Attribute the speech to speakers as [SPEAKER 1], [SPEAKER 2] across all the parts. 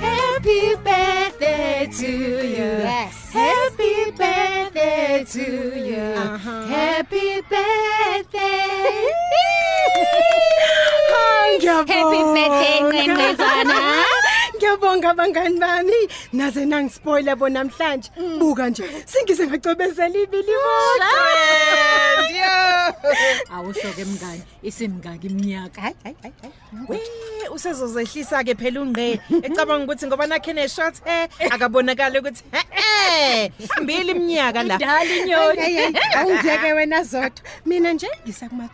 [SPEAKER 1] Happy birthday to you.
[SPEAKER 2] Yes.
[SPEAKER 1] Happy birthday to you.
[SPEAKER 2] Uh-huh.
[SPEAKER 1] Happy birthday. Hayi,
[SPEAKER 2] Happy birthday, Nkwenkwe-zana.
[SPEAKER 1] ngiyabonga bangani bami naze nangispoila bo namhlanje buka nje sengize ngacobezela ibili
[SPEAKER 3] awusho-ke mngani isimngaki iminyaka
[SPEAKER 2] hayi hayi hayi hayi
[SPEAKER 1] usezozehlisa ke phela ungqe ecabanga ukuthi ngoba nakhe neshot hair akabonakala ukuthi he mbili iminyaka la
[SPEAKER 3] dala inyoni
[SPEAKER 2] hayi awungiyeke wena zodwa mina nje ngisakuma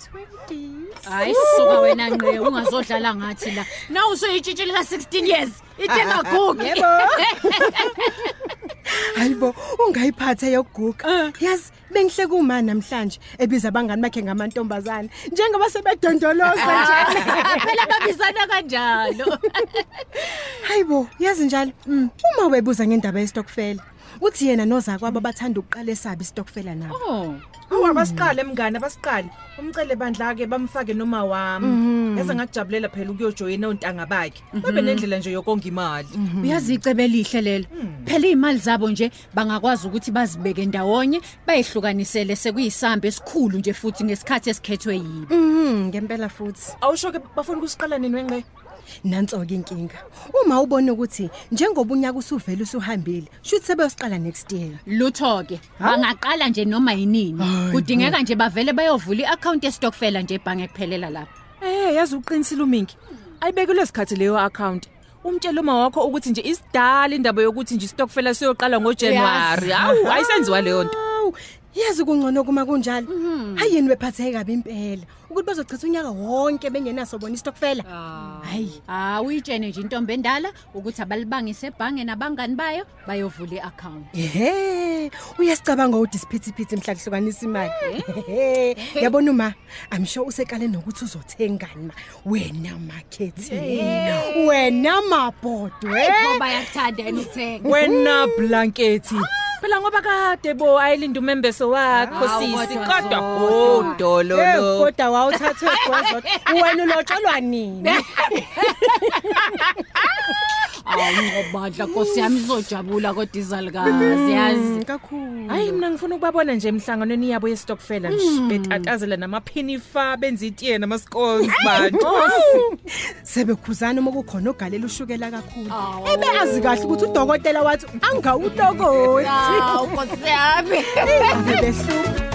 [SPEAKER 2] 20
[SPEAKER 3] hayi suka wena nqe ungazodlala ngathi la na usuyitshitshi lika-16 years
[SPEAKER 1] Ah,
[SPEAKER 3] itengagugi
[SPEAKER 1] hayibo ungayiphatha
[SPEAKER 3] Ah.
[SPEAKER 1] yokuguga yazi bengihle kuma namhlanje ebiza abangani bakhe ngamantombazane njengoba sebedondoloza nje
[SPEAKER 3] phela babizana kanjalo
[SPEAKER 1] hayibo yazi njalo Mm. uma webuza ngendaba yestokfela uthi yena nozakwabo bathanda ukuqala esaba istokfela nabo
[SPEAKER 3] Oh,
[SPEAKER 4] awabasiqale mngane abasiqale umcele bandla ke bamfake noma wami eze ngakujabulela phela ukuyojoyina ontanga bakhe babe nendlela nje yokonga imali
[SPEAKER 3] Mhm. uyazi icebe elihle lelo phela iy'mali zabo nje bangakwazi ukuthi bazibeke ndawonye bayihlukanisele sekuyisambe esikhulu nje futhi ngesikhathi esikhethwe yibo
[SPEAKER 1] mhm ngempela futhi
[SPEAKER 4] awusho ke bafuna ukusiqala nini wenqe
[SPEAKER 1] nanso ke inkinga uma ubona ukuthi njengoba unyaka usuvela usuhambile shothi sebeyosiqala next year
[SPEAKER 3] lutho-ke bangaqala nje noma yinini kudingeka nje bavele bayovula i-akhawunti yestokfela nje ebhange kuphelela lapho
[SPEAKER 4] Eh yazi uqinisile uMingi. Ayibekelwe isikhathi leyo account. Umtshela uma wakho ukuthi nje isidala indaba yokuthi nje stockfela siyoqala ngoJanuary. Hawu ayisenziwa leyo nto.
[SPEAKER 1] awu yazi kungcono kuma kunjalo hayi yini bephatheke kabi impela ukuthi bazochitha unyaka wonke bengenaso bona istokfela hayi
[SPEAKER 3] Ah uyitshene nje intombi endala ukuthi abalibangise ebhange nabangani bayo bayovula i-akhawunti
[SPEAKER 1] ehe uyasicabanga udisiphithiphithi mhla kuhlukanisa imali Ehe, yabona uma i'm sure usekale nokuthi uzothengani ma wena makhethi wena eh? mabhodwe
[SPEAKER 3] ngoba yakuthanda yena ukuthenga
[SPEAKER 4] Wena blankethi. Phela ngoba kade bo ayilinde umembeso wakho
[SPEAKER 3] Hawu,
[SPEAKER 4] sisi
[SPEAKER 3] kodwa
[SPEAKER 4] kodwa
[SPEAKER 3] zodwa.
[SPEAKER 4] ho dololo.
[SPEAKER 1] Eh, kodwa wawuthathwe gwazot wena ulotsholwa nini
[SPEAKER 3] awungobandla nkosi yami izojabula kodwa izalukazi yazi
[SPEAKER 1] kakhulu
[SPEAKER 4] Hayi mina ngifuna ukubabona nje emhlanganweni yabo yestokfela nje betatazela namaphini fa benza itiye namascones bantu.
[SPEAKER 1] sebekhuzana uma kukhona ogalela ushukela kakhulu ebe azi kahle ukuthi udokotela wathi angawutokothi
[SPEAKER 3] awu nkosi yami
[SPEAKER 1] behluka